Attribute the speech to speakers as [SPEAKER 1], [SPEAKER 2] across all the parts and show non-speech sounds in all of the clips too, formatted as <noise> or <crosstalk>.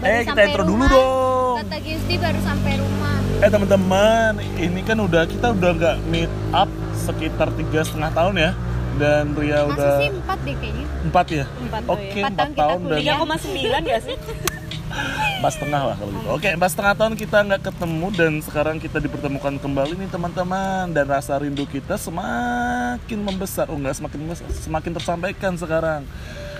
[SPEAKER 1] Eh, kita intro dulu dong.
[SPEAKER 2] Kata Gusti baru sampai rumah.
[SPEAKER 1] Eh teman-teman, ini kan udah kita udah nggak meet up sekitar tiga setengah tahun ya, dan Ria
[SPEAKER 2] Masa
[SPEAKER 1] Ya udah
[SPEAKER 2] sih empat deh kayaknya.
[SPEAKER 1] empat ya.
[SPEAKER 3] Empat tuh
[SPEAKER 1] Oke,
[SPEAKER 3] ya.
[SPEAKER 2] Empat
[SPEAKER 1] empat
[SPEAKER 2] tahun kita
[SPEAKER 1] tahun dan
[SPEAKER 2] kuliah.
[SPEAKER 3] 3,9 gak sih?
[SPEAKER 1] empat setengah lah kalau gitu. Oke, empat setengah tahun kita nggak ketemu dan sekarang kita dipertemukan kembali nih teman-teman dan rasa rindu kita semakin membesar, oh nggak semakin membesar, semakin tersampaikan sekarang.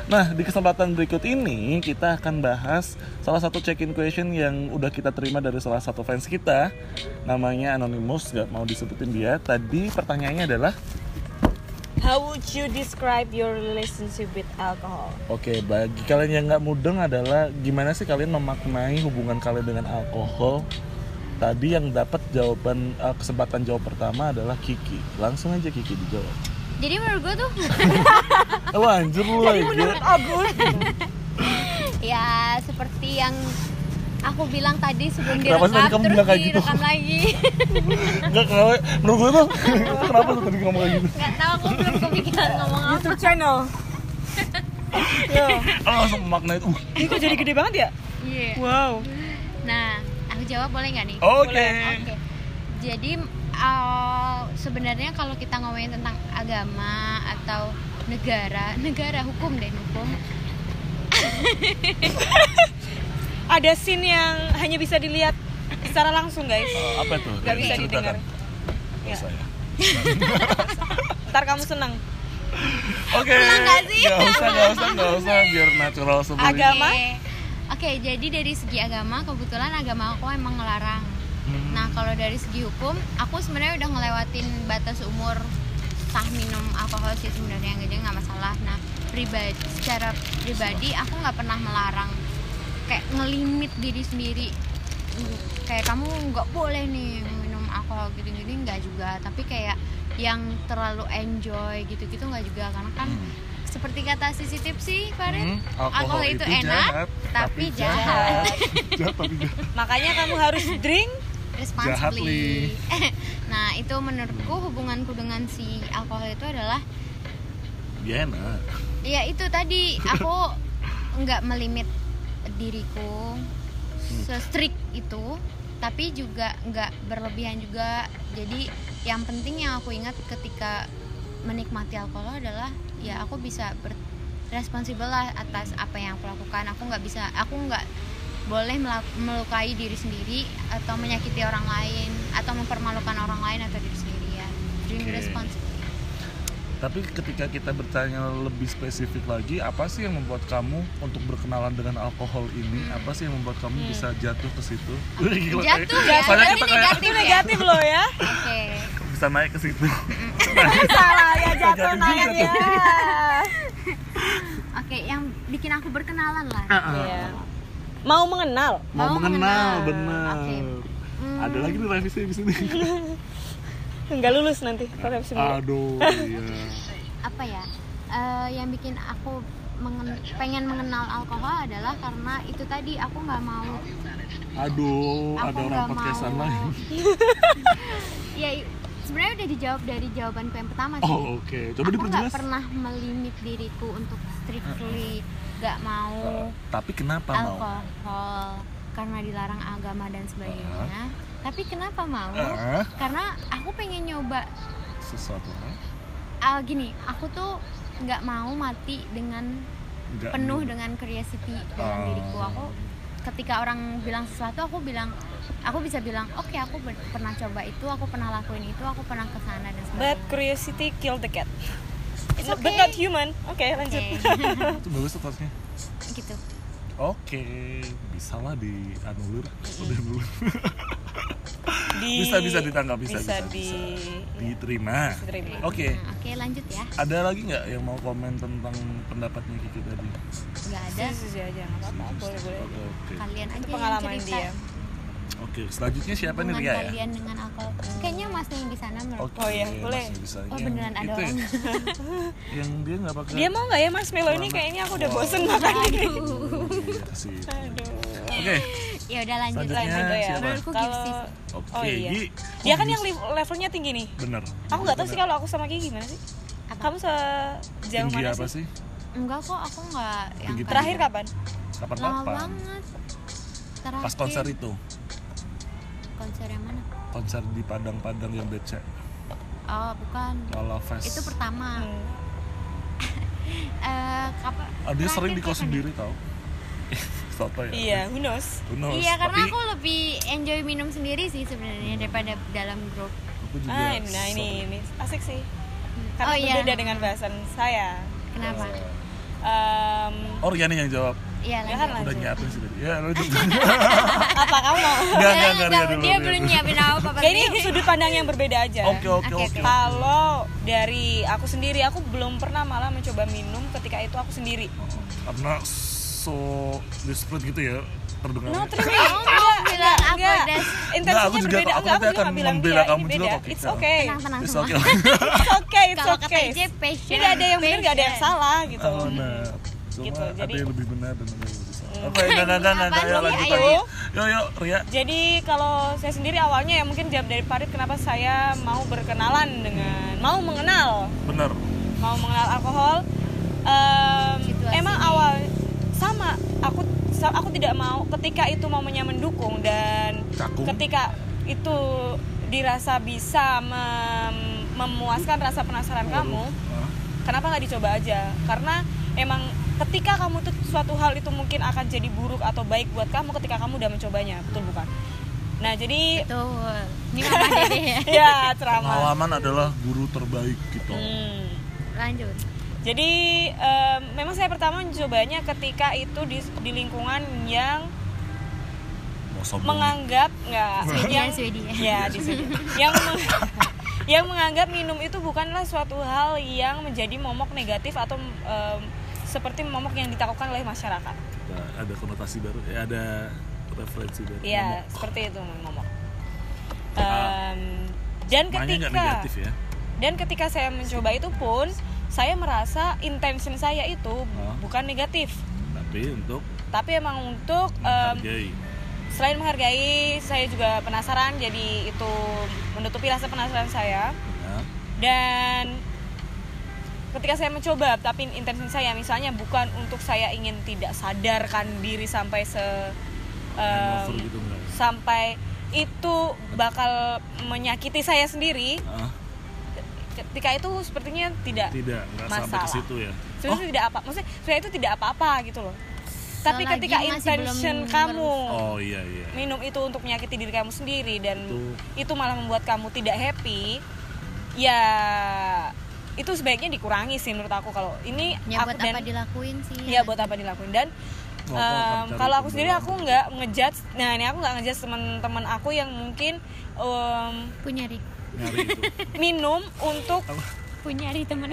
[SPEAKER 1] Nah, di kesempatan berikut ini kita akan bahas salah satu check-in question yang udah kita terima dari salah satu fans kita. Namanya Anonymous, nggak mau disebutin dia. Tadi pertanyaannya adalah
[SPEAKER 3] How would you describe your relationship with alcohol?
[SPEAKER 1] Oke, bagi kalian yang nggak mudeng adalah gimana sih kalian memaknai hubungan kalian dengan alkohol? Tadi yang dapat jawaban eh, kesempatan jawab pertama adalah Kiki. Langsung aja Kiki dijawab.
[SPEAKER 2] <laughs> Jadi menurut gue tuh
[SPEAKER 1] Wah, anjir Ah, lu lagi.
[SPEAKER 3] Agus.
[SPEAKER 2] ya seperti yang aku bilang tadi sebelum
[SPEAKER 1] Kenapa
[SPEAKER 2] direkam
[SPEAKER 1] sih tadi kamu
[SPEAKER 2] terus
[SPEAKER 1] bilang kayak gitu?
[SPEAKER 2] direkam lagi. <laughs>
[SPEAKER 1] Enggak kenapa? Menurut gue tuh kenapa tuh tadi ngomong kayak gitu?
[SPEAKER 2] Gak tahu aku belum
[SPEAKER 1] <laughs>
[SPEAKER 2] kepikiran ngomong apa.
[SPEAKER 3] YouTube <laughs> channel. ya.
[SPEAKER 1] Ah, langsung memaknai itu. Uh,
[SPEAKER 3] Ini kok jadi gede banget ya?
[SPEAKER 2] Iya.
[SPEAKER 3] Wow.
[SPEAKER 2] Nah, aku jawab boleh nggak nih?
[SPEAKER 1] Oke.
[SPEAKER 2] Oke. Jadi uh, sebenarnya kalau kita ngomongin tentang agama atau negara, negara hukum deh hukum.
[SPEAKER 3] Ada scene yang hanya bisa dilihat secara langsung guys.
[SPEAKER 1] Eh, Apa tuh?
[SPEAKER 3] Gak bisa didengar.
[SPEAKER 2] Iya.
[SPEAKER 1] Ya. saya.
[SPEAKER 3] Ntar kamu senang.
[SPEAKER 1] Oke.
[SPEAKER 2] nggak sih?
[SPEAKER 1] Nggak usah, nggak usah, nggak usah biar natural sebenarnya.
[SPEAKER 3] Agama.
[SPEAKER 2] Oke. Oke, jadi dari segi agama kebetulan agama aku emang ngelarang.
[SPEAKER 1] Hmm.
[SPEAKER 2] Nah, kalau dari segi hukum, aku sebenarnya udah ngelewatin batas umur sah minum alkohol sih sebenarnya jadi nggak masalah. Nah, pribadi secara pribadi aku nggak pernah melarang kayak ngelimit diri sendiri kayak kamu nggak boleh nih minum alkohol gitu-gitu nggak juga tapi kayak yang terlalu enjoy gitu-gitu nggak juga karena kan
[SPEAKER 1] Hmm.
[SPEAKER 2] seperti kata CCTV sih
[SPEAKER 1] Hmm,
[SPEAKER 2] Farid alkohol, itu, enak tapi jahat, <laughs>
[SPEAKER 1] jahat tapi jahat.
[SPEAKER 3] Makanya kamu harus drink
[SPEAKER 2] responsibly. <laughs> nah itu menurutku hubunganku dengan si alkohol itu adalah
[SPEAKER 1] Dia enak.
[SPEAKER 2] ya itu tadi aku nggak melimit diriku se-strict itu tapi juga nggak berlebihan juga jadi yang penting yang aku ingat ketika menikmati alkohol adalah ya aku bisa berresponsible lah atas apa yang aku lakukan aku nggak bisa aku nggak boleh mela- melukai diri sendiri atau menyakiti orang lain atau mempermalukan orang lain atau diri sendiri ya drink
[SPEAKER 1] Oke.
[SPEAKER 2] responsibly
[SPEAKER 1] Tapi ketika kita bertanya lebih spesifik lagi, apa sih yang membuat kamu untuk berkenalan dengan alkohol ini? Apa sih yang membuat kamu bisa jatuh ke situ? Gila, kayak-
[SPEAKER 2] Hmm. Ah. Jatuh ya,
[SPEAKER 1] soalnya
[SPEAKER 2] berarti
[SPEAKER 1] kita kayak
[SPEAKER 2] negatif ya
[SPEAKER 3] negatif loh ya.
[SPEAKER 2] oke
[SPEAKER 1] bisa naik ke situ.
[SPEAKER 2] Iya.
[SPEAKER 1] <laughs>
[SPEAKER 3] Salah ya
[SPEAKER 1] Jatuh
[SPEAKER 3] jatuh
[SPEAKER 1] juga
[SPEAKER 3] tangannya.
[SPEAKER 2] Oke, yang bikin aku berkenalan lah.
[SPEAKER 3] Iya. Mau mengenal.
[SPEAKER 1] Mau
[SPEAKER 2] Mau
[SPEAKER 1] mengenal,
[SPEAKER 2] mengenal.
[SPEAKER 1] benar.
[SPEAKER 2] Oke. Hmm.
[SPEAKER 1] Ada lagi nih revisi di
[SPEAKER 2] <laughs>
[SPEAKER 1] sini.
[SPEAKER 3] Enggak lulus nanti kalau habis dulu.
[SPEAKER 1] Aduh, iya.
[SPEAKER 2] Apa ya? Eh, yang bikin aku mengen- pengen mengenal alkohol adalah karena itu tadi aku nggak mau.
[SPEAKER 1] Aduh,
[SPEAKER 2] Aku
[SPEAKER 1] ada orang
[SPEAKER 2] nggak
[SPEAKER 1] podcastan
[SPEAKER 2] mau.
[SPEAKER 1] lain.
[SPEAKER 2] <laughs>
[SPEAKER 1] <laughs>
[SPEAKER 2] Ya, i- sebenarnya udah dijawab dari jawabanku yang pertama sih.
[SPEAKER 1] Oh, oke. Coba
[SPEAKER 2] aku
[SPEAKER 1] diperjelas.
[SPEAKER 2] nggak pernah melimit diriku untuk strictly nggak mau
[SPEAKER 1] Tapi kenapa mau?
[SPEAKER 2] alkohol karena dilarang agama dan sebagainya. Tapi kenapa mau?
[SPEAKER 1] Ah.
[SPEAKER 2] Karena aku pengen nyoba
[SPEAKER 1] Sesuatu eh? hal?
[SPEAKER 2] Ah, gini, aku tuh nggak mau mati dengan
[SPEAKER 1] Nggak
[SPEAKER 2] penuh
[SPEAKER 1] nih.
[SPEAKER 2] dengan curiosity dalam
[SPEAKER 1] Ah.
[SPEAKER 2] diriku aku ketika orang bilang sesuatu aku bilang aku bisa bilang oke aku ber- pernah coba itu aku pernah lakuin itu aku pernah kesana dan
[SPEAKER 3] But
[SPEAKER 2] sebagainya
[SPEAKER 3] curiosity killed the cat.
[SPEAKER 2] It's
[SPEAKER 3] No, But
[SPEAKER 2] okay.
[SPEAKER 3] not human. Oke, lanjut.
[SPEAKER 2] Oke,
[SPEAKER 1] Itu bagus tuh tasnya.
[SPEAKER 2] <laughs> gitu
[SPEAKER 1] Oke, bisa lah dianulir udah dulu.
[SPEAKER 3] Di-
[SPEAKER 1] Bisa bisa ditangkap bisa bisa, bisa,
[SPEAKER 3] di
[SPEAKER 1] <laughs> diterima.
[SPEAKER 3] diterima.
[SPEAKER 1] Oke,
[SPEAKER 2] Nah, oke lanjut ya
[SPEAKER 1] ada lagi nggak yang mau komen tentang pendapatnya Kiki tadi?
[SPEAKER 2] nggak ada
[SPEAKER 3] Sisi Iya, aja nggak apa-apa, boleh boleh. Kan.
[SPEAKER 1] Oke, oke.
[SPEAKER 2] kalian aja
[SPEAKER 3] Itu
[SPEAKER 2] yang
[SPEAKER 3] pengalaman
[SPEAKER 2] cerita
[SPEAKER 3] dia.
[SPEAKER 1] Oke, selanjutnya siapa nih
[SPEAKER 2] hubungan
[SPEAKER 1] Ria ya?
[SPEAKER 2] kalian dengan alkohol kayaknya masnya yang di sana menurut
[SPEAKER 1] Oke,
[SPEAKER 3] Oh iya, boleh.
[SPEAKER 1] masih bisa.
[SPEAKER 2] Oh,
[SPEAKER 1] Yang
[SPEAKER 2] beneran ada
[SPEAKER 1] itu ya?
[SPEAKER 2] orang.
[SPEAKER 1] <laughs> yang dia nggak pakai.
[SPEAKER 3] Dia mau nggak ya Mas Melo ini kayaknya aku udah bosen makan ini.
[SPEAKER 1] Iya sih.
[SPEAKER 3] Aduh.
[SPEAKER 1] Oke,
[SPEAKER 2] <laughs> ya udah
[SPEAKER 1] Selanjutnya
[SPEAKER 2] lanjut lanjut
[SPEAKER 3] Lanjut ya.
[SPEAKER 1] siapa?
[SPEAKER 2] menurutku
[SPEAKER 3] Kalau
[SPEAKER 2] gipsis
[SPEAKER 1] oke.
[SPEAKER 3] Oh, iya.
[SPEAKER 1] Gi.
[SPEAKER 3] dia kan
[SPEAKER 1] Oh,
[SPEAKER 3] yang
[SPEAKER 1] Gi.
[SPEAKER 3] li- levelnya tinggi nih.
[SPEAKER 1] bener.
[SPEAKER 3] Aku nggak tahu sih
[SPEAKER 1] Bener.
[SPEAKER 3] kalau aku sama Kiki gimana sih?
[SPEAKER 2] Apa?
[SPEAKER 3] Kamu sejauh
[SPEAKER 1] tinggi
[SPEAKER 3] mana
[SPEAKER 1] apa
[SPEAKER 3] sih?
[SPEAKER 1] sih?
[SPEAKER 2] enggak kok aku nggak yang
[SPEAKER 1] Tinggi
[SPEAKER 2] kayak-
[SPEAKER 3] Terakhir kapan?
[SPEAKER 1] Kapan
[SPEAKER 2] lama
[SPEAKER 1] kapan?
[SPEAKER 2] banget
[SPEAKER 4] terakhir
[SPEAKER 1] pas konser itu
[SPEAKER 4] konser yang mana
[SPEAKER 1] konser di Padang-Padang yang becek
[SPEAKER 4] oh bukan
[SPEAKER 1] Lala Fest
[SPEAKER 4] itu
[SPEAKER 2] Ah.
[SPEAKER 4] pertama
[SPEAKER 3] Hmm.
[SPEAKER 4] eh kap-
[SPEAKER 1] Hmm. Ah, dia sering di
[SPEAKER 4] terakhir kapan
[SPEAKER 1] kos
[SPEAKER 4] ya?
[SPEAKER 1] sendiri tau <laughs> Soto ya
[SPEAKER 3] Iya, who knows?
[SPEAKER 1] Who knows?
[SPEAKER 4] Iya karena
[SPEAKER 1] Oh, Tapi
[SPEAKER 4] aku lebih enjoy minum sendiri sih sebenarnya daripada dalam grup.
[SPEAKER 1] aku juga
[SPEAKER 3] Ah, nah ini, ini asik sih. Karena berbeda dengan bahasan saya.
[SPEAKER 4] Kenapa?
[SPEAKER 3] Em,
[SPEAKER 1] Oh Riani yang jawab
[SPEAKER 4] Iya
[SPEAKER 3] Ya
[SPEAKER 4] lanjut.
[SPEAKER 3] kan,
[SPEAKER 1] Udah
[SPEAKER 3] Lanjut.
[SPEAKER 1] nyiapin sih tadi Ya
[SPEAKER 3] <laughs>
[SPEAKER 1] lanjut
[SPEAKER 3] apa kamu mau?
[SPEAKER 1] Enggak, enggak, enggak,
[SPEAKER 4] Dia-
[SPEAKER 1] Riani dulu,
[SPEAKER 4] dia
[SPEAKER 1] Riani
[SPEAKER 4] belum
[SPEAKER 1] dulu.
[SPEAKER 4] nyiapin apa-apa.
[SPEAKER 3] Kayak ini sudut pandang yang berbeda aja.
[SPEAKER 1] Oke, oke,
[SPEAKER 4] Oke,
[SPEAKER 1] oke
[SPEAKER 4] oke.
[SPEAKER 3] Kalau dari aku sendiri, aku belum pernah malah mencoba minum ketika itu aku sendiri.
[SPEAKER 1] Karena so desperate gitu ya Terdengar
[SPEAKER 3] No, terus
[SPEAKER 4] Kamu mau bilang aku des
[SPEAKER 1] Enggak, aku
[SPEAKER 3] Intensitasnya
[SPEAKER 1] juga-
[SPEAKER 3] berbeda.
[SPEAKER 1] aku
[SPEAKER 3] Enggak,
[SPEAKER 1] nanti akan
[SPEAKER 3] nggak bilang
[SPEAKER 1] membela
[SPEAKER 3] iya,
[SPEAKER 1] kamu
[SPEAKER 3] ini
[SPEAKER 1] juga
[SPEAKER 3] beda.
[SPEAKER 1] kok,
[SPEAKER 3] It's
[SPEAKER 1] Kika.
[SPEAKER 3] okay.
[SPEAKER 4] tenang tenang
[SPEAKER 1] It's
[SPEAKER 4] semua. <laughs>
[SPEAKER 1] okay <laughs>
[SPEAKER 3] It's okay, it's
[SPEAKER 4] Kalau kata
[SPEAKER 3] okay.
[SPEAKER 4] IJ passion.
[SPEAKER 3] Tidak ada yang benar, enggak ada yang
[SPEAKER 4] Passion.
[SPEAKER 3] salah gitu.
[SPEAKER 1] Oh, nah. Cuma
[SPEAKER 3] Gitu,
[SPEAKER 1] ada
[SPEAKER 3] jadi- Hmm.
[SPEAKER 1] yang lebih benar dan ada yang lebih salah Oke, enggak, enggak, enggak, enggak,
[SPEAKER 4] Apaan
[SPEAKER 1] ya
[SPEAKER 4] sih,
[SPEAKER 1] lanjut
[SPEAKER 4] ayo.
[SPEAKER 1] lagi Yuk, yuk, Ria
[SPEAKER 3] Jadi kalau saya sendiri awalnya ya mungkin jawab dari Farid kenapa saya mau berkenalan dengan mau mengenal
[SPEAKER 1] Bener
[SPEAKER 3] mau mengenal alkohol Em,
[SPEAKER 4] Situasi
[SPEAKER 3] emang awal sama aku sa- aku tidak mau ketika itu momennya mendukung dan
[SPEAKER 1] Cakung.
[SPEAKER 3] ketika itu dirasa bisa mem- memuaskan rasa penasaran kamu
[SPEAKER 1] Hah?
[SPEAKER 3] kenapa nggak dicoba aja karena emang ketika kamu tuh suatu hal itu mungkin akan jadi buruk atau baik buat kamu ketika kamu udah mencobanya betul bukan nah jadi
[SPEAKER 4] Betul. Ini mama dede ya.
[SPEAKER 3] ya ceramah
[SPEAKER 1] Pengalaman adalah guru terbaik gitu
[SPEAKER 3] Hmm.
[SPEAKER 4] Lanjut.
[SPEAKER 3] jadi em, memang saya pertama mencobanya ketika itu di, di lingkungan yang
[SPEAKER 1] Mau sombong
[SPEAKER 3] menganggap nggak
[SPEAKER 4] Swedia
[SPEAKER 3] yang
[SPEAKER 4] Swedia.
[SPEAKER 3] ya di sini yang meng- <laughs> yang menganggap minum itu bukanlah suatu hal yang menjadi momok negatif atau em, seperti momok yang ditakutkan oleh masyarakat
[SPEAKER 1] Nah, Ada konotasi baru, ya ada referensi baru
[SPEAKER 3] Iya,
[SPEAKER 1] Ngomong.
[SPEAKER 3] seperti itu momok.
[SPEAKER 1] Ah.
[SPEAKER 3] Em, dan
[SPEAKER 1] Makanya nggak
[SPEAKER 3] ketika
[SPEAKER 1] negatif ya
[SPEAKER 3] dan ketika saya mencoba itu pun saya merasa intention saya itu bukan negatif,
[SPEAKER 1] Tapi untuk
[SPEAKER 3] tapi emang untuk em,
[SPEAKER 1] menghargai
[SPEAKER 3] selain menghargai, saya juga penasaran jadi itu menutupi rasa penasaran saya
[SPEAKER 1] ya.
[SPEAKER 3] dan ketika saya mencoba tapi intensi saya misalnya bukan untuk saya ingin tidak sadarkan diri sampai se em,
[SPEAKER 1] Hangover gitu enggak
[SPEAKER 3] sampai itu bakal menyakiti saya sendiri
[SPEAKER 1] Ah,
[SPEAKER 3] ketika itu sepertinya tidak
[SPEAKER 1] Tidak, nggak sampai ke
[SPEAKER 3] Masalah.
[SPEAKER 1] situ ya
[SPEAKER 3] sebenarnya tidak apa maksudnya sebenarnya itu tidak apa-apa gitu loh tapi
[SPEAKER 4] Selagi
[SPEAKER 3] ketika
[SPEAKER 4] masih
[SPEAKER 3] intention
[SPEAKER 4] belum
[SPEAKER 3] kamu
[SPEAKER 1] Oh iya iya
[SPEAKER 3] minum itu untuk menyakiti diri kamu sendiri dan
[SPEAKER 1] Betul.
[SPEAKER 3] itu malah membuat kamu tidak happy ya itu sebaiknya dikurangi sih menurut aku kalau ini
[SPEAKER 4] Ya
[SPEAKER 3] aku
[SPEAKER 4] buat
[SPEAKER 3] dan
[SPEAKER 4] apa dilakuin sih?
[SPEAKER 3] ya buat apa dilakuin dan
[SPEAKER 1] Ngokok,
[SPEAKER 3] em,
[SPEAKER 1] cari
[SPEAKER 3] kalau aku sendiri
[SPEAKER 1] pembelaan.
[SPEAKER 3] aku nggak ngejudge nah ini aku nggak ngejudge teman-teman aku yang mungkin em,
[SPEAKER 4] punya ri
[SPEAKER 1] Nyari
[SPEAKER 3] <laughs>
[SPEAKER 1] itu
[SPEAKER 3] minum untuk
[SPEAKER 4] punya ri
[SPEAKER 3] <laughs>
[SPEAKER 4] temen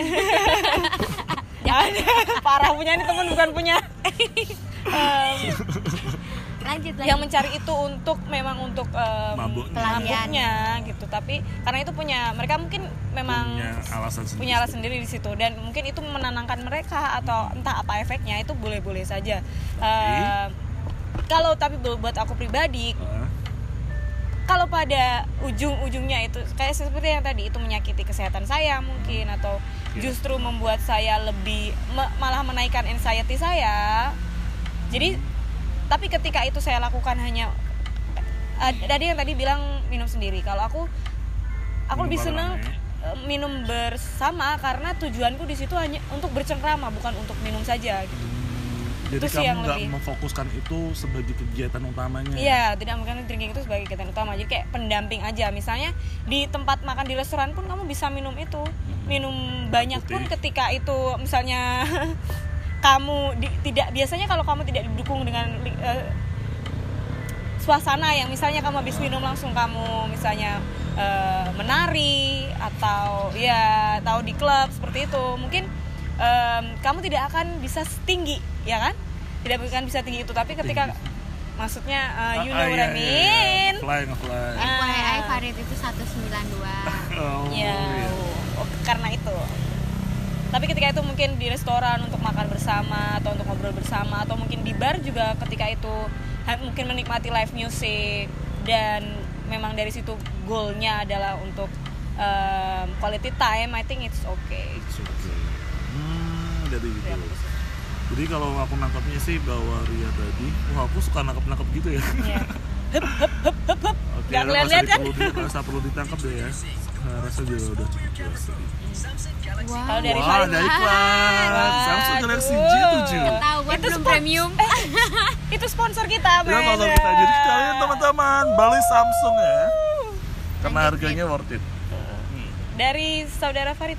[SPEAKER 3] jangan parah punya ini temen bukan punya Em,
[SPEAKER 4] lanjut lagi
[SPEAKER 3] Nah, yang mencari itu untuk memang untuk em,
[SPEAKER 1] Mabuknya.
[SPEAKER 3] mabuknya gitu tapi karena itu punya mereka mungkin memang
[SPEAKER 1] Punya alasan sendiri
[SPEAKER 3] punya alas sendiri di situ dan mungkin itu menenangkan mereka atau entah apa efeknya itu boleh-boleh saja. Eh, kalau tapi bu- buat aku pribadi,
[SPEAKER 1] Ah,
[SPEAKER 3] kalau pada ujung-ujungnya itu kayak seperti yang tadi itu menyakiti kesehatan saya mungkin atau
[SPEAKER 1] Iya.
[SPEAKER 3] justru membuat saya lebih me- malah menaikkan anxiety saya. Jadi tapi ketika itu saya lakukan hanya ad- tadi yang tadi bilang minum sendiri. Kalau aku
[SPEAKER 1] Minum
[SPEAKER 3] aku lebih seneng
[SPEAKER 1] bareng, ya?
[SPEAKER 3] eh, minum bersama karena tujuanku di situ hanya untuk bercengkrama bukan untuk minum saja gitu.
[SPEAKER 1] Jadi
[SPEAKER 3] Itu sih yang
[SPEAKER 1] kamu nggak
[SPEAKER 3] lebih-
[SPEAKER 1] memfokuskan itu sebagai kegiatan utamanya
[SPEAKER 3] Iya, tidak menggunakan drinking itu sebagai kegiatan utama. Jadi kayak pendamping aja. Misalnya di tempat makan di restoran pun kamu bisa minum itu. Minum banyak pun
[SPEAKER 1] putih.
[SPEAKER 3] ketika itu misalnya <laughs> kamu di- tidak biasanya kalau kamu tidak didukung dengan li- eh, suasana yang misalnya kamu habis minum langsung kamu misalnya eh, menari atau ya tahu di klub seperti itu mungkin em, kamu tidak akan bisa setinggi ya kan tidak akan bisa tinggi itu tapi ketika maksudnya eh, you know
[SPEAKER 1] Ah, iya,
[SPEAKER 3] what I
[SPEAKER 1] iya, iya.
[SPEAKER 3] mean
[SPEAKER 1] Fly, nge-fly.
[SPEAKER 3] Ah.
[SPEAKER 4] FYI Farid itu 192
[SPEAKER 1] Oh,
[SPEAKER 3] ya
[SPEAKER 1] iya.
[SPEAKER 3] oh, karena itu tapi ketika itu mungkin di restoran untuk makan bersama atau untuk ngobrol bersama atau mungkin di bar juga ketika itu ha- mungkin menikmati live music dan memang dari situ goalnya adalah untuk um, em, quality time I think it's okay Iya,
[SPEAKER 1] It's okay. Hmm, jadi gitu. Jadi kalau aku nangkapnya sih bahwa Ria tadi, wah aku suka nangkap-nangkap gitu ya.
[SPEAKER 3] Iya.
[SPEAKER 1] Oke,
[SPEAKER 3] Nggak
[SPEAKER 1] ada rasa
[SPEAKER 3] kelihatan kan?
[SPEAKER 1] diperlu, rasa perlu ditangkap deh ya. Nah, rasa juga udah cukup jelas tadi.
[SPEAKER 3] Kalau
[SPEAKER 4] Wow.
[SPEAKER 3] dari
[SPEAKER 1] Wah, ada iklan Samsung Galaxy J7.
[SPEAKER 4] Ketahuan
[SPEAKER 3] Itu
[SPEAKER 4] belum
[SPEAKER 3] spon-
[SPEAKER 4] premium.
[SPEAKER 3] <laughs> Itu sponsor kita,
[SPEAKER 1] Ya,
[SPEAKER 3] men.
[SPEAKER 1] kalau kita jadi kalian teman-teman balik Samsung ya. Karena harganya worth it.
[SPEAKER 3] Dari saudara Farid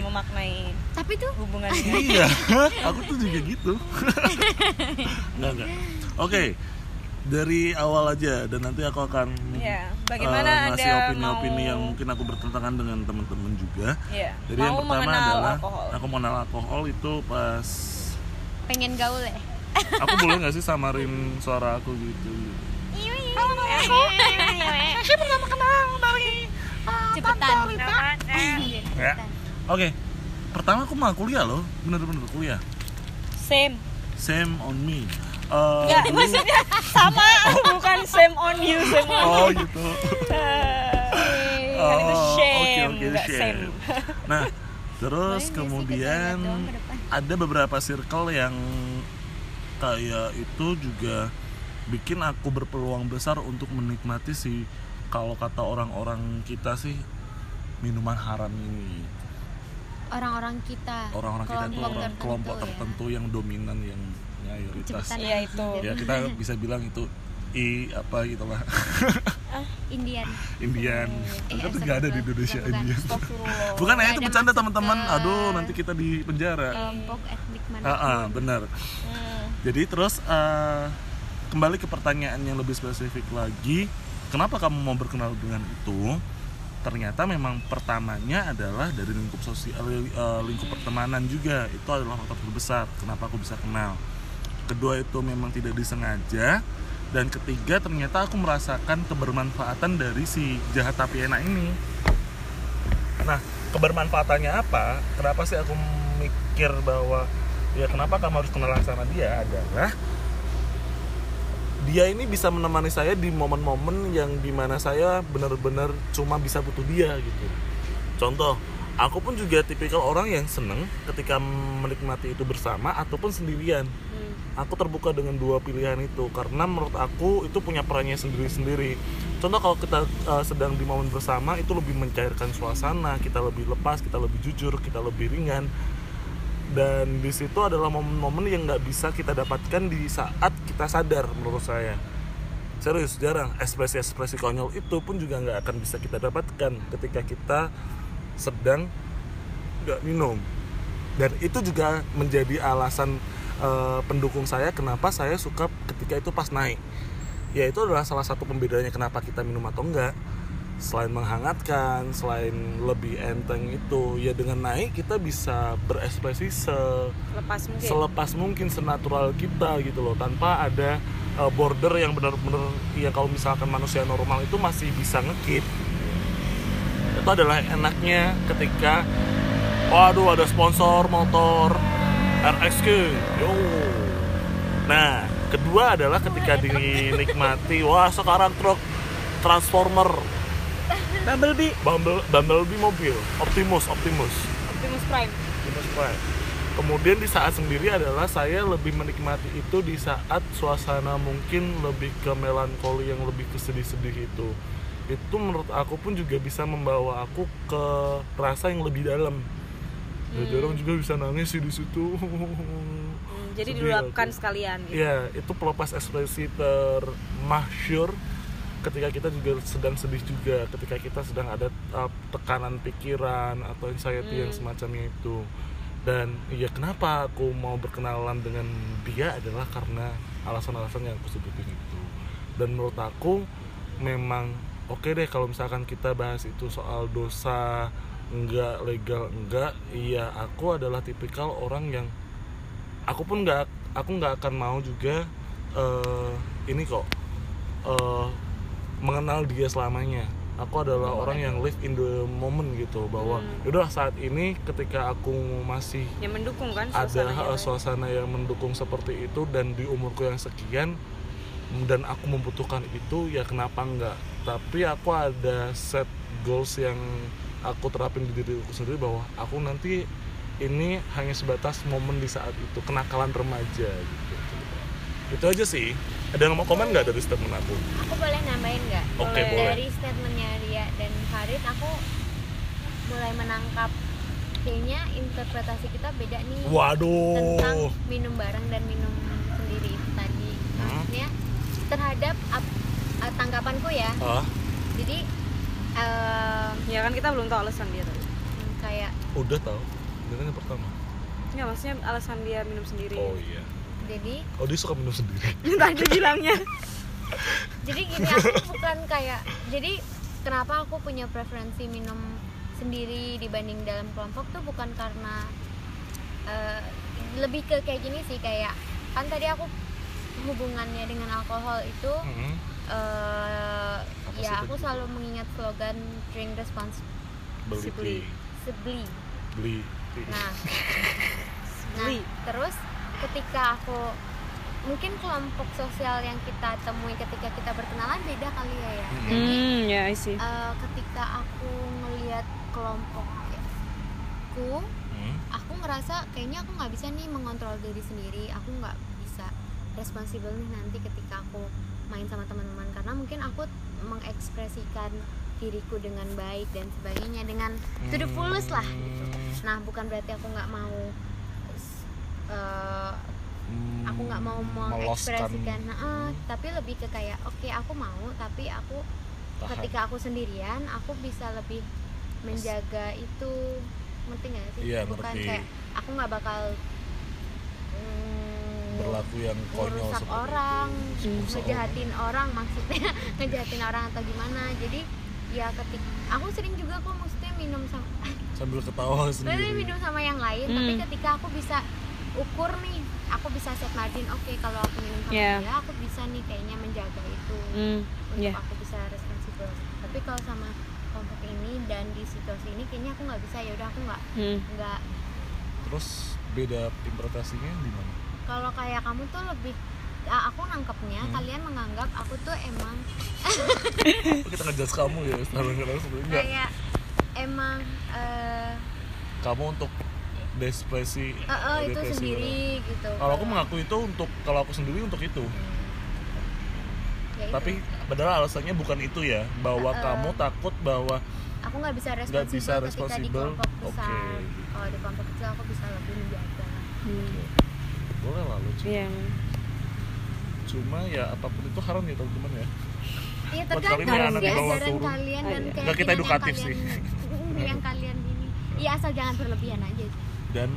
[SPEAKER 1] Oke.
[SPEAKER 3] memaknai
[SPEAKER 4] Tapi tuh
[SPEAKER 3] hubungan dengan <laughs>
[SPEAKER 1] iya, <laughs> aku tuh juga gitu. <laughs> Enggak, enggak. Oke. Dari awal aja dan nanti aku akan
[SPEAKER 3] Iya, bagaimana
[SPEAKER 1] eh, ngasih
[SPEAKER 3] Anda
[SPEAKER 1] opini-opini
[SPEAKER 3] mau-
[SPEAKER 1] yang mungkin aku bertentangan dengan teman-teman juga.
[SPEAKER 3] Iya.
[SPEAKER 1] Jadi
[SPEAKER 3] Mau
[SPEAKER 1] yang pertama
[SPEAKER 3] mengenal
[SPEAKER 1] adalah
[SPEAKER 3] alkohol.
[SPEAKER 1] aku mau kenal alkohol itu pas <laughs>
[SPEAKER 4] pengen gaul ya.
[SPEAKER 1] aku boleh nggak sih samarin suara aku gitu.
[SPEAKER 3] Saya pertama kenal dari
[SPEAKER 4] Cepetan. Oh, iya.
[SPEAKER 1] Ya. Oke. Pertama aku mah kuliah loh, bener-bener kuliah.
[SPEAKER 3] Same.
[SPEAKER 1] Same on me. Eh,
[SPEAKER 3] Ya,
[SPEAKER 1] dulu-
[SPEAKER 3] maksudnya sama, bukan same on you, same on
[SPEAKER 1] <laughs> oh gitu.
[SPEAKER 3] Eh, kan itu
[SPEAKER 1] Oh,
[SPEAKER 3] shame,
[SPEAKER 1] oke, oke,
[SPEAKER 3] nggak
[SPEAKER 1] shame.
[SPEAKER 3] same.
[SPEAKER 1] Nah, terus kemudian
[SPEAKER 4] doang ke depan.
[SPEAKER 1] ada beberapa circle yang kayak itu juga bikin aku berpeluang besar untuk menikmati si kalau kata orang-orang kita sih minuman haram ini
[SPEAKER 4] Orang-orang kita.
[SPEAKER 2] Ah,
[SPEAKER 1] orang-orang kita itu
[SPEAKER 4] Kelompok
[SPEAKER 1] orang
[SPEAKER 4] tertentu
[SPEAKER 1] kelompok
[SPEAKER 4] ya.
[SPEAKER 1] tertentu yang dominan yang mayoritas
[SPEAKER 4] Cepetan.
[SPEAKER 3] Iya itu.
[SPEAKER 1] ya kita bisa bilang itu i apa gitu lah
[SPEAKER 4] Indian.
[SPEAKER 1] <laughs> Iya. Indian
[SPEAKER 4] Eh,
[SPEAKER 1] kan
[SPEAKER 4] eh,
[SPEAKER 1] nggak ada di
[SPEAKER 4] bukan.
[SPEAKER 1] Indonesia
[SPEAKER 4] Bukan.
[SPEAKER 1] Indian
[SPEAKER 3] Astagfirullah.
[SPEAKER 1] bukan ya itu
[SPEAKER 4] ada
[SPEAKER 1] bercanda
[SPEAKER 4] masuk
[SPEAKER 1] teman-teman
[SPEAKER 4] ke-
[SPEAKER 1] aduh nanti kita di
[SPEAKER 2] Iya.
[SPEAKER 1] penjara
[SPEAKER 4] Kelompok etnik mana?
[SPEAKER 1] ah benar
[SPEAKER 3] Hmm.
[SPEAKER 1] jadi terus eh, kembali ke pertanyaan yang lebih spesifik lagi kenapa kamu mau berkenal dengan itu ternyata memang pertamanya adalah dari lingkup sosial eh, lingkup pertemanan juga itu adalah faktor terbesar kenapa aku bisa kenal kedua itu memang tidak disengaja dan ketiga ternyata aku merasakan kebermanfaatan dari si jahat tapi enak ini Nah, kebermanfaatannya apa? Kenapa sih aku mikir bahwa ya kenapa kamu harus kenalan sama dia adalah dia ini bisa menemani saya di momen-momen yang dimana saya benar-benar cuma bisa butuh dia gitu. Contoh, aku pun juga tipikal orang yang seneng ketika menikmati itu bersama ataupun sendirian. Aku terbuka dengan dua pilihan itu karena menurut aku itu punya perannya sendiri-sendiri. Contoh kalau kita uh, sedang di momen bersama itu lebih mencairkan suasana, kita lebih lepas, kita lebih jujur, kita lebih ringan. Dan di situ adalah momen-momen yang nggak bisa kita dapatkan di saat kita sadar menurut saya serius jarang ekspresi-ekspresi konyol itu pun juga nggak akan bisa kita dapatkan ketika kita sedang nggak minum dan itu juga menjadi alasan eh, pendukung saya kenapa saya suka ketika itu pas naik ya itu adalah salah satu pembedanya kenapa kita minum atau enggak selain menghangatkan selain lebih enteng itu ya dengan naik kita bisa berekspresi se
[SPEAKER 3] Lepas mungkin.
[SPEAKER 1] selepas mungkin senatural kita gitu loh tanpa ada uh, border yang benar-benar ya kalau misalkan manusia normal itu masih bisa ngekip itu adalah enaknya ketika waduh ada sponsor motor RXQ yo nah kedua adalah ketika dinikmati wah sekarang truk transformer
[SPEAKER 3] Bumblebee,
[SPEAKER 1] Bumble, Bumblebee mobil Optimus Optimus
[SPEAKER 3] Optimus Prime.
[SPEAKER 1] Optimus Prime. Kemudian di saat sendiri adalah saya lebih menikmati itu di saat suasana mungkin lebih ke melankoli yang lebih ke sedih-sedih itu. Itu menurut aku pun juga bisa membawa aku ke rasa yang lebih dalam. Ya, jarang juga bisa nangis sih di situ. <laughs>
[SPEAKER 3] Hmm, jadi
[SPEAKER 1] Sedih
[SPEAKER 3] diluapkan
[SPEAKER 1] aku.
[SPEAKER 3] sekalian gitu.
[SPEAKER 1] Ya, itu pelepas ekspresi termasyur ketika kita juga sedang sedih juga, ketika kita sedang ada uh, tekanan pikiran atau anxiety yang semacamnya itu. Dan ya kenapa aku mau berkenalan dengan dia adalah karena alasan-alasan yang aku sebutin itu. Dan menurut aku memang oke deh kalau misalkan kita bahas itu soal dosa enggak legal enggak, iya aku adalah tipikal orang yang aku pun nggak aku nggak akan mau juga eh, ini kok eh, mengenal dia selamanya aku adalah orang yang live in the moment gitu bahwa yaudah saat ini ketika aku masih
[SPEAKER 3] Yang mendukung kan
[SPEAKER 1] ada
[SPEAKER 3] suasananya.
[SPEAKER 1] eh, suasana yang mendukung seperti itu dan di umurku yang sekian dan aku membutuhkan itu ya kenapa enggak tapi aku ada set goals yang aku terapin di diriku sendiri bahwa aku nanti ini hanya sebatas momen di saat itu kenakalan remaja gitu itu aja sih ada yang mau komen nggak dari statement aku
[SPEAKER 2] Aku boleh nambahin nggak?
[SPEAKER 1] Oke,
[SPEAKER 2] Kalau
[SPEAKER 1] boleh.
[SPEAKER 2] Dari statementnya Ria dan Farid, aku mulai menangkap kayaknya interpretasi kita beda nih tentang
[SPEAKER 1] waduh
[SPEAKER 2] minum bareng dan minum sendiri itu tadi.
[SPEAKER 1] Hmm.
[SPEAKER 2] Maksudnya terhadap ap- eh, tanggapanku ya.
[SPEAKER 1] ah
[SPEAKER 2] Jadi eh,
[SPEAKER 3] ya kan kita belum tahu alasan dia tadi
[SPEAKER 2] kayak
[SPEAKER 1] udah tau itu kan yang pertama
[SPEAKER 3] nggak maksudnya alasan dia minum sendiri
[SPEAKER 1] oh iya
[SPEAKER 2] jadi
[SPEAKER 1] oh dia suka minum sendiri
[SPEAKER 3] <laughs> tadi bilangnya
[SPEAKER 2] jadi gini aku bukan kayak jadi kenapa aku punya preferensi minum sendiri dibanding dalam kelompok tuh bukan karena eh, lebih ke kayak gini sih kayak kan tadi aku hubungannya dengan alkohol itu
[SPEAKER 1] Hmm.
[SPEAKER 2] eh,
[SPEAKER 1] Apa sih
[SPEAKER 2] ya
[SPEAKER 1] itu?
[SPEAKER 2] aku selalu mengingat slogan drink
[SPEAKER 1] beli
[SPEAKER 3] beli.
[SPEAKER 1] tea.
[SPEAKER 2] responsibly
[SPEAKER 1] beli tea.
[SPEAKER 2] Nah, nah
[SPEAKER 3] Beli.
[SPEAKER 2] terus ketika aku mungkin kelompok sosial yang kita temui ketika kita berkenalan beda kali ya ya.
[SPEAKER 1] Hmm.
[SPEAKER 2] Jadi
[SPEAKER 3] hmm ya sih
[SPEAKER 2] eh, ketika aku ngelihat kelompokku,
[SPEAKER 1] Hmm.
[SPEAKER 2] aku ngerasa kayaknya aku nggak bisa nih mengontrol diri sendiri. Aku nggak bisa responsibel nih nanti ketika aku main sama teman-teman karena mungkin aku mengekspresikan diriku dengan baik dan sebagainya dengan to the fullest lah gitu.
[SPEAKER 1] Hmm.
[SPEAKER 2] Nah, bukan berarti aku nggak mau s- eh,
[SPEAKER 1] Hmm.
[SPEAKER 2] aku nggak mau
[SPEAKER 1] Meloskan.
[SPEAKER 2] mengekspresikan, Nah, eh,
[SPEAKER 1] Hmm.
[SPEAKER 2] tapi lebih ke kayak oke aku mau, tapi aku
[SPEAKER 1] Tahan.
[SPEAKER 2] ketika aku sendirian aku bisa lebih menjaga itu ngerti nggak sih?
[SPEAKER 1] Iya,
[SPEAKER 2] bukan
[SPEAKER 1] ngerti.
[SPEAKER 2] kayak aku nggak bakal mm,
[SPEAKER 1] berlaku yang konyol
[SPEAKER 2] merusak
[SPEAKER 1] seperti
[SPEAKER 2] orang,
[SPEAKER 1] itu.
[SPEAKER 3] Hmm.
[SPEAKER 1] Merusak
[SPEAKER 2] ngejahatin orang maksudnya <laughs> ngejahatin orang atau gimana jadi ya ketika aku sering juga kok maksudnya minum sama
[SPEAKER 1] orang. sambil ketawa
[SPEAKER 2] Sebenarnya
[SPEAKER 1] sendiri
[SPEAKER 2] minum sama yang lain, tapi
[SPEAKER 3] Hmm.
[SPEAKER 2] ketika aku bisa ukur nih, aku bisa set margin. Oke, kalau aku minum sama
[SPEAKER 3] Yeah.
[SPEAKER 2] dia, aku bisa nih kayaknya menjaga itu
[SPEAKER 3] hmm
[SPEAKER 2] untuk
[SPEAKER 1] Iya.
[SPEAKER 3] ya
[SPEAKER 2] aku bisa responsibel. Tapi kalau sama kelompok ini dan di situasi ini, kayaknya aku nggak bisa. Ya udah, aku nggak
[SPEAKER 3] hmm.
[SPEAKER 2] nggak.
[SPEAKER 1] terus beda interpretasinya di mana
[SPEAKER 2] Kalau kayak kamu tuh lebih, ah, aku nangkepnya
[SPEAKER 1] Hmm.
[SPEAKER 2] kalian menganggap aku tuh emang
[SPEAKER 1] Apa kita ngejudge kamu ya sekarang langsung
[SPEAKER 2] <laughs>
[SPEAKER 1] enggak
[SPEAKER 2] kayak emang eh
[SPEAKER 1] kamu untuk depresi
[SPEAKER 2] eh, eh, itu
[SPEAKER 1] depresi
[SPEAKER 2] sendiri gitu.
[SPEAKER 1] orang. kalau aku mengaku itu untuk kalau aku sendiri untuk itu
[SPEAKER 2] Ya itu.
[SPEAKER 1] tapi padahal alasannya bukan itu ya bahwa
[SPEAKER 2] Eh, eh.
[SPEAKER 1] kamu takut bahwa
[SPEAKER 2] aku nggak bisa responsibel
[SPEAKER 1] Nggak bisa
[SPEAKER 2] ketika di
[SPEAKER 1] responsibel,
[SPEAKER 2] kelompok besar
[SPEAKER 1] oke.
[SPEAKER 2] kalau di kelompok kecil aku bisa lebih menjaga
[SPEAKER 3] Hmm.
[SPEAKER 1] boleh lah lucu
[SPEAKER 3] Iya.
[SPEAKER 1] cuma ya apapun itu haram ya teman-teman ya
[SPEAKER 2] iya
[SPEAKER 1] Buat kalian
[SPEAKER 2] tergantung
[SPEAKER 3] yang anak di bawah
[SPEAKER 2] ajaran
[SPEAKER 1] turun.
[SPEAKER 2] kalian dan
[SPEAKER 3] Nggak
[SPEAKER 2] keyakinan
[SPEAKER 1] kita edukatif
[SPEAKER 2] yang
[SPEAKER 1] sih. <laughs>
[SPEAKER 2] kalian, yang kalian ini iya asal jangan berlebihan aja sih.
[SPEAKER 1] dan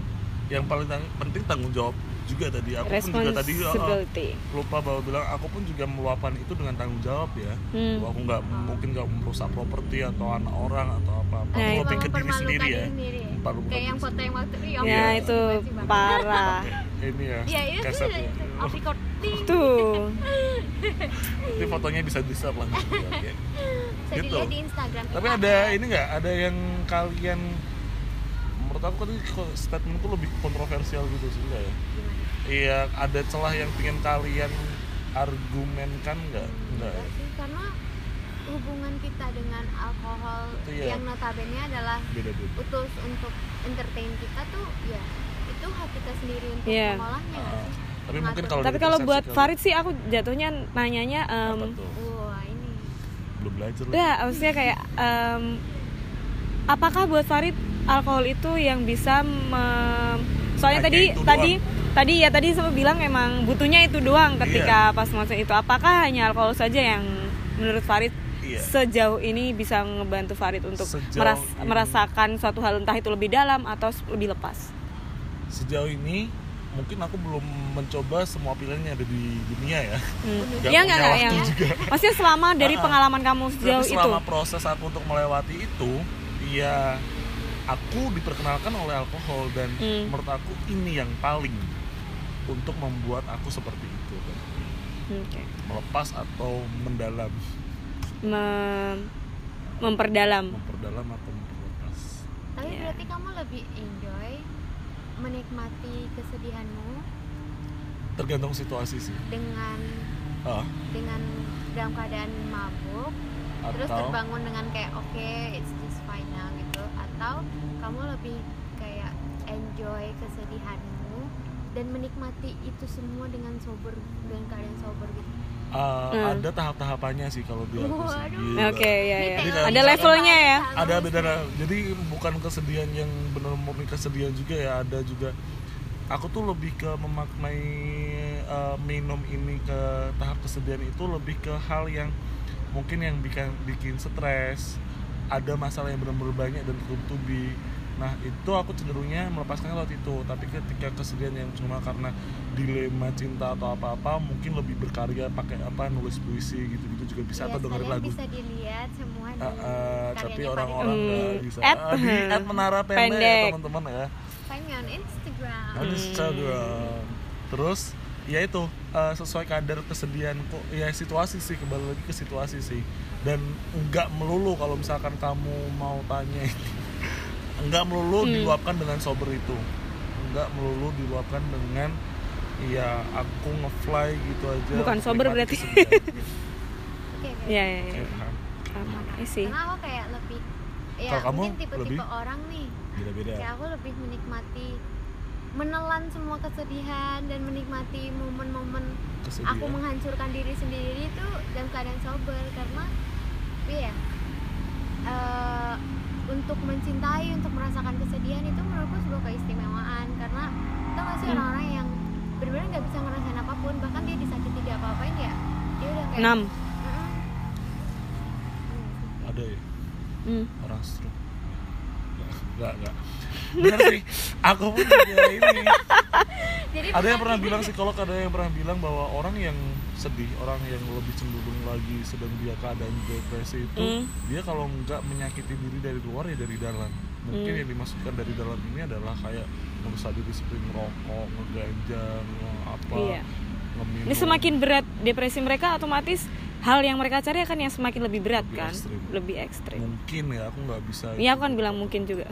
[SPEAKER 1] yang paling tang- penting tanggung jawab juga tadi aku pun juga tadi uh,
[SPEAKER 3] Responsibility.
[SPEAKER 1] lupa bahwa bilang aku pun juga meluapkan itu dengan tanggung jawab ya
[SPEAKER 3] Hmm.
[SPEAKER 1] Bahwa aku nggak mungkin nggak merusak properti atau anak orang atau apa apa
[SPEAKER 3] Nah,
[SPEAKER 1] aku lebih
[SPEAKER 2] Cuma
[SPEAKER 1] ke diri
[SPEAKER 2] mempermalukan
[SPEAKER 1] sendiri ya
[SPEAKER 2] diri sendiri.
[SPEAKER 1] Mempermalukan
[SPEAKER 2] kayak yang
[SPEAKER 1] diri
[SPEAKER 2] foto yang waktu itu ya
[SPEAKER 1] Iya.
[SPEAKER 3] Ya itu parah.
[SPEAKER 1] ini ya
[SPEAKER 3] Iya,
[SPEAKER 2] ya itu
[SPEAKER 1] kaset ya
[SPEAKER 2] off recording
[SPEAKER 3] Tuh.
[SPEAKER 1] nanti fotonya bisa di share lah
[SPEAKER 3] <laughs>
[SPEAKER 1] Oke.
[SPEAKER 2] bisa
[SPEAKER 1] Gitu.
[SPEAKER 2] dilihat di Instagram
[SPEAKER 1] tapi
[SPEAKER 2] kita. Iya,
[SPEAKER 1] ada ini nggak ada yang kalian menurut aku tadi kok statementku lebih kontroversial gitu sih enggak ya
[SPEAKER 2] Gimana?
[SPEAKER 1] iya ada celah yang pengen kalian argumenkan nggak ya? enggak
[SPEAKER 2] Enggak sih, karena hubungan kita dengan alkohol
[SPEAKER 1] Itu ya.
[SPEAKER 2] yang notabene adalah
[SPEAKER 1] beda beda
[SPEAKER 2] utus untuk entertain kita tuh ya itu hak kita sendiri untuk
[SPEAKER 3] Iya.
[SPEAKER 2] mengolahnya nggak sih?
[SPEAKER 1] tapi mungkin kalau gitu
[SPEAKER 3] Tapi
[SPEAKER 1] dari
[SPEAKER 3] kalau
[SPEAKER 1] persepsi
[SPEAKER 3] buat
[SPEAKER 1] kalian-
[SPEAKER 3] Farid um, sih aku jatuhnya nanyanya
[SPEAKER 1] apa
[SPEAKER 3] em
[SPEAKER 1] tuh
[SPEAKER 2] Wah ini
[SPEAKER 1] belum belajar lagi.
[SPEAKER 3] ya maksudnya kayak em, apakah buat Farid alkohol itu yang bisa mem- soalnya
[SPEAKER 1] Hanya
[SPEAKER 3] tadi
[SPEAKER 1] itu
[SPEAKER 3] tadi tadi ya tadi sempat bilang emang butuhnya itu doang
[SPEAKER 1] Iya.
[SPEAKER 3] ketika pas masa itu apakah hanya alkohol saja yang menurut Farid
[SPEAKER 1] Iya.
[SPEAKER 3] sejauh ini bisa ngebantu Farid untuk
[SPEAKER 1] Sejauh
[SPEAKER 3] meras-
[SPEAKER 1] ini.
[SPEAKER 3] merasakan suatu hal entah itu lebih dalam atau lebih lepas
[SPEAKER 1] sejauh ini mungkin aku belum mencoba semua pilihan yang ada di dunia ya
[SPEAKER 3] Hmm.
[SPEAKER 1] Nggak
[SPEAKER 3] Iya
[SPEAKER 1] punya
[SPEAKER 3] nggak nggak yang
[SPEAKER 1] waktu juga.
[SPEAKER 3] <laughs> maksudnya selama dari
[SPEAKER 1] Ah, ah.
[SPEAKER 3] pengalaman kamu
[SPEAKER 1] tapi
[SPEAKER 3] sejauh itu
[SPEAKER 1] selama proses aku untuk melewati itu ya aku diperkenalkan oleh alkohol dan
[SPEAKER 3] Hmm.
[SPEAKER 1] menurut aku ini yang paling untuk membuat aku seperti itu kan.
[SPEAKER 3] Hmm, Oke.
[SPEAKER 1] melepas atau mendalam
[SPEAKER 3] Mem- memperdalam
[SPEAKER 1] memperdalam atau memperlepas
[SPEAKER 2] tapi
[SPEAKER 3] Iya.
[SPEAKER 2] berarti kamu lebih enjoy menikmati kesedihanmu
[SPEAKER 1] tergantung situasi sih
[SPEAKER 2] dengan
[SPEAKER 1] ah,
[SPEAKER 2] dengan dalam keadaan mabuk terus
[SPEAKER 1] atau
[SPEAKER 2] terbangun dengan kayak oke it's just fine now gitu atau kamu lebih kayak enjoy kesedihanmu dan menikmati itu semua dengan sober dengan keadaan sober gitu
[SPEAKER 1] Ah,
[SPEAKER 3] Hmm.
[SPEAKER 1] ada tahap-tahapannya sih kalau di aku sih.
[SPEAKER 2] Waduh.
[SPEAKER 1] Gila.
[SPEAKER 3] Oke, ya ya.
[SPEAKER 1] Jadi
[SPEAKER 3] Ada
[SPEAKER 1] kalau
[SPEAKER 3] levelnya ya.
[SPEAKER 1] Ada beda jadi bukan kesedihan yang benar murni kesedihan juga ya, ada juga aku tuh lebih ke memaknai eh, minum ini ke tahap kesedihan itu lebih ke hal yang mungkin yang bikin bikin stres, ada masalah yang benar-benar banyak dan belum to be. Nah, itu aku cenderungnya melepaskannya lewat itu. Tapi ketika kesedihan yang cuma karena dilema cinta atau apa-apa, mungkin lebih berkarya pakai apa nulis puisi gitu-gitu juga bisa atau
[SPEAKER 2] Iya,
[SPEAKER 1] dengerin
[SPEAKER 2] sekalian
[SPEAKER 1] lagu.
[SPEAKER 2] bisa dilihat semua di
[SPEAKER 1] Ah, ah,
[SPEAKER 3] Kan
[SPEAKER 1] tapi
[SPEAKER 2] karyanya
[SPEAKER 1] orang-orang
[SPEAKER 2] Farid
[SPEAKER 1] nggak
[SPEAKER 3] Hmm.
[SPEAKER 1] bisa
[SPEAKER 3] At-
[SPEAKER 1] Ah, di
[SPEAKER 3] <laughs>
[SPEAKER 1] at menara pendek,
[SPEAKER 3] Pendek. Hmm.
[SPEAKER 1] ya teman-teman ya
[SPEAKER 2] Find me on Instagram
[SPEAKER 1] Nah, di Instagram terus ya itu eh, sesuai kadar kesedihan kok ya situasi sih kembali lagi ke situasi sih dan nggak melulu kalau misalkan kamu mau tanya <laughs> nggak melulu
[SPEAKER 3] Hmm.
[SPEAKER 1] diluapkan dengan sober itu nggak melulu diluapkan dengan ya aku ngefly gitu aja
[SPEAKER 3] Bukan sober
[SPEAKER 1] menikmati
[SPEAKER 3] berarti.
[SPEAKER 1] kesedihan. kan?
[SPEAKER 2] Oke,
[SPEAKER 3] <laughs>
[SPEAKER 2] oke.
[SPEAKER 3] Ya ya ya.
[SPEAKER 1] Oke, paham.
[SPEAKER 3] Paham. I see.
[SPEAKER 2] karena aku kayak lebih ya
[SPEAKER 1] Kalau kamu
[SPEAKER 2] mungkin tipe-tipe
[SPEAKER 1] lebih? Iya.
[SPEAKER 2] orang nih
[SPEAKER 1] beda-beda
[SPEAKER 2] kayak aku lebih menikmati menelan semua kesedihan dan menikmati momen-momen
[SPEAKER 1] kesedihan
[SPEAKER 2] aku menghancurkan diri sendiri itu dalam keadaan sober karena iya eh, untuk mencintai untuk merasakan kesedihan itu menurutku sebuah keistimewaan karena tau gak sih
[SPEAKER 3] Hmm.
[SPEAKER 2] orang-orang yang benar-benar nggak bisa ngerasain apapun bahkan dia disakiti dia apa-apain ya dia udah kayak "Mm-mm."
[SPEAKER 3] 6.
[SPEAKER 2] Hmm.
[SPEAKER 1] ada ya
[SPEAKER 3] Hmm.
[SPEAKER 1] orang stroke nggak <laughs> nggak bener sih aku pun juga <laughs> ini
[SPEAKER 2] jadi
[SPEAKER 1] ada yang pernah bilang psikolog ada yang pernah bilang bahwa orang yang sedih orang yang lebih cenderung lagi sedang dia keadaan depresi itu
[SPEAKER 3] Hmm.
[SPEAKER 1] dia kalau nggak menyakiti diri dari luar ya dari dalam mungkin
[SPEAKER 3] Hmm.
[SPEAKER 1] yang dimasukkan dari dalam ini adalah kayak merusak diri seperti ngerokok ngeganja nge- apa
[SPEAKER 3] Iya.
[SPEAKER 1] ngeminum
[SPEAKER 3] Ini semakin berat depresi mereka otomatis hal yang mereka cari akan yang semakin lebih berat
[SPEAKER 1] Lebih
[SPEAKER 3] kan,
[SPEAKER 1] ekstrim.
[SPEAKER 3] lebih ekstrim.
[SPEAKER 1] mungkin ya aku nggak bisa
[SPEAKER 3] Iya aku kan bilang mungkin
[SPEAKER 1] <laughs>
[SPEAKER 3] juga.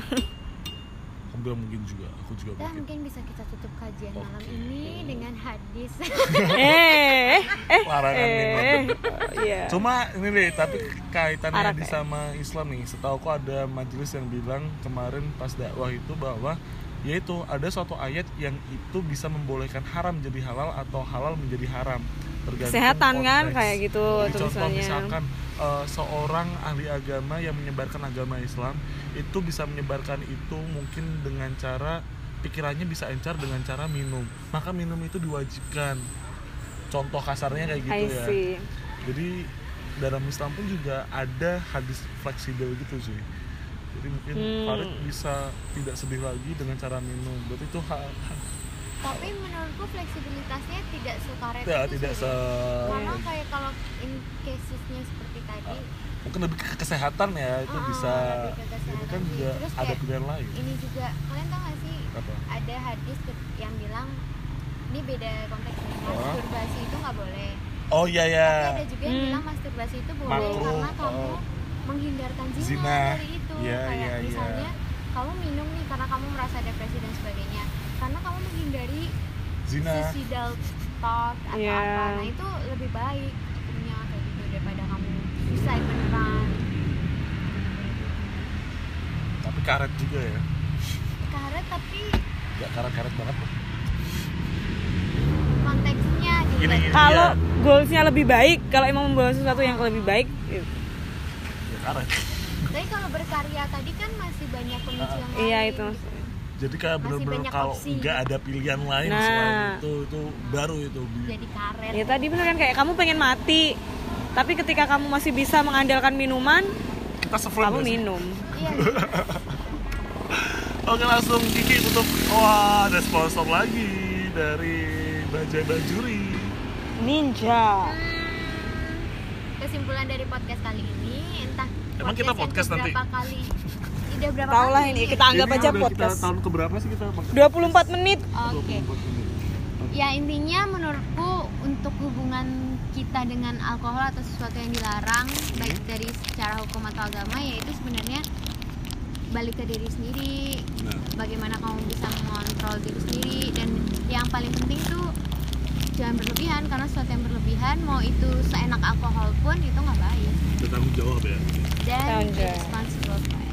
[SPEAKER 1] aku bilang mungkin juga aku juga
[SPEAKER 2] Dah,
[SPEAKER 1] mungkin
[SPEAKER 2] mungkin bisa kita tutup kajian malam
[SPEAKER 1] Oke.
[SPEAKER 2] ini dengan
[SPEAKER 1] <laughs>
[SPEAKER 2] hadis
[SPEAKER 3] eh,
[SPEAKER 1] Kan
[SPEAKER 3] eh,
[SPEAKER 1] larangan
[SPEAKER 3] eh,
[SPEAKER 1] minum
[SPEAKER 3] iya.
[SPEAKER 1] Cuma ini deh, tapi kaitannya
[SPEAKER 3] Arab
[SPEAKER 1] di
[SPEAKER 3] ya?
[SPEAKER 1] sama Islam nih. Setauku ada majelis yang bilang kemarin pas dakwah itu bahwa yaitu ada suatu ayat yang itu bisa membolehkan haram jadi halal atau halal menjadi haram. Tergantung
[SPEAKER 3] Kesehatan kan
[SPEAKER 1] konteks.
[SPEAKER 3] kayak
[SPEAKER 1] Jadi
[SPEAKER 3] gitu
[SPEAKER 1] Iya, contoh
[SPEAKER 3] tulisannya.
[SPEAKER 1] misalkan eh, seorang ahli agama yang menyebarkan agama Islam itu bisa menyebarkan itu mungkin dengan cara pikirannya bisa encer dengan cara minum. Maka minum itu diwajibkan. Contoh kasarnya kayak gitu
[SPEAKER 3] I
[SPEAKER 1] ya
[SPEAKER 3] see.
[SPEAKER 1] jadi dalam Islam pun juga ada hadis fleksibel gitu sih jadi mungkin
[SPEAKER 3] Hmm.
[SPEAKER 1] Farid bisa tidak sedih lagi dengan cara minum berarti itu hal
[SPEAKER 2] tapi menurutku fleksibilitasnya tidak sekaret
[SPEAKER 1] ya,
[SPEAKER 2] itu
[SPEAKER 1] tidak
[SPEAKER 2] sih.
[SPEAKER 1] se Ah.
[SPEAKER 2] karena kayak kalau in casesnya seperti tadi
[SPEAKER 1] mungkin lebih ke kesehatan ya itu
[SPEAKER 2] Ah,
[SPEAKER 1] bisa
[SPEAKER 2] lebih ke kesehatan
[SPEAKER 1] itu kan
[SPEAKER 2] sih.
[SPEAKER 1] juga
[SPEAKER 2] Terus
[SPEAKER 1] ada
[SPEAKER 2] kayak-
[SPEAKER 1] pilihan lain
[SPEAKER 2] ini juga kalian tau gak sih
[SPEAKER 1] apa
[SPEAKER 2] ada hadis ke- yang bilang ini beda konteksnya masturbasi itu nggak boleh
[SPEAKER 1] oh iya ya
[SPEAKER 2] tapi ada juga yang
[SPEAKER 3] Hmm.
[SPEAKER 2] bilang masturbasi itu boleh
[SPEAKER 1] Makruh,
[SPEAKER 2] karena kamu
[SPEAKER 1] oh.
[SPEAKER 2] menghindarkan zina,
[SPEAKER 1] Zina.
[SPEAKER 2] dari itu
[SPEAKER 1] Iya,
[SPEAKER 2] kayak
[SPEAKER 1] iya, iya.
[SPEAKER 2] misalnya kamu minum nih karena kamu merasa depresi dan sebagainya karena kamu menghindari
[SPEAKER 1] zina
[SPEAKER 2] suicidal thought atau
[SPEAKER 3] Iya.
[SPEAKER 2] apa nah itu lebih baik punya kayak gitu daripada kamu suicide beneran
[SPEAKER 1] tapi karet juga ya
[SPEAKER 2] karena tapi
[SPEAKER 1] nggak karet karet banget
[SPEAKER 2] konteksnya gitu
[SPEAKER 1] Gini, gini.
[SPEAKER 3] Kalau
[SPEAKER 1] Iya.
[SPEAKER 3] goalsnya lebih baik, kalau emang membawa sesuatu yang lebih baik, gitu.
[SPEAKER 1] ya karet
[SPEAKER 2] tapi kalau berkarya tadi kan masih banyak pemicu yang lain
[SPEAKER 3] iya itu.
[SPEAKER 2] gitu.
[SPEAKER 3] maksudnya.
[SPEAKER 1] jadi kayak
[SPEAKER 2] Masih
[SPEAKER 1] bener-bener
[SPEAKER 2] banyak
[SPEAKER 1] kalau
[SPEAKER 2] opsi.
[SPEAKER 1] nggak ada pilihan lain
[SPEAKER 3] Nah.
[SPEAKER 1] selain itu itu baru itu
[SPEAKER 2] jadi karet
[SPEAKER 3] Ya tadi bener kan kayak kamu pengen mati, tapi ketika kamu masih bisa mengandalkan minuman,
[SPEAKER 1] kita seflame
[SPEAKER 3] kamu
[SPEAKER 1] nggak sih?
[SPEAKER 3] minum.
[SPEAKER 2] iya
[SPEAKER 1] Oke langsung Kiki tutup Wah ada sponsor lagi dari Bajai Bajuri
[SPEAKER 3] Ninja.
[SPEAKER 2] kesimpulan dari podcast kali ini entah
[SPEAKER 1] Emang kita podcast
[SPEAKER 2] yang
[SPEAKER 1] nanti?
[SPEAKER 2] keberapa kali tidak berapa
[SPEAKER 3] Tau
[SPEAKER 2] kali
[SPEAKER 3] lah ini, kita anggap
[SPEAKER 1] Ini
[SPEAKER 3] aja
[SPEAKER 1] udah
[SPEAKER 3] podcast.
[SPEAKER 1] kita tahun keberapa sih kita podcast?
[SPEAKER 3] 24 menit.
[SPEAKER 2] oke
[SPEAKER 1] 24 ini.
[SPEAKER 2] ya intinya menurutku untuk hubungan kita dengan alkohol atau sesuatu yang dilarang baik
[SPEAKER 1] Hmm.
[SPEAKER 2] dari secara hukum atau agama yaitu sebenarnya balik ke diri sendiri
[SPEAKER 1] Nah,
[SPEAKER 2] bagaimana kamu bisa mengontrol diri sendiri dan yang paling penting tuh jangan berlebihan karena sesuatu yang berlebihan mau itu seenak alkohol pun itu nggak baik
[SPEAKER 1] bertanggung jawab ya
[SPEAKER 2] dan
[SPEAKER 3] Tanggung
[SPEAKER 2] be
[SPEAKER 3] jawab.
[SPEAKER 2] responsible for it.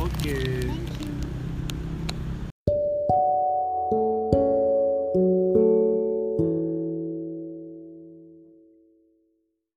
[SPEAKER 1] Oke
[SPEAKER 2] thank you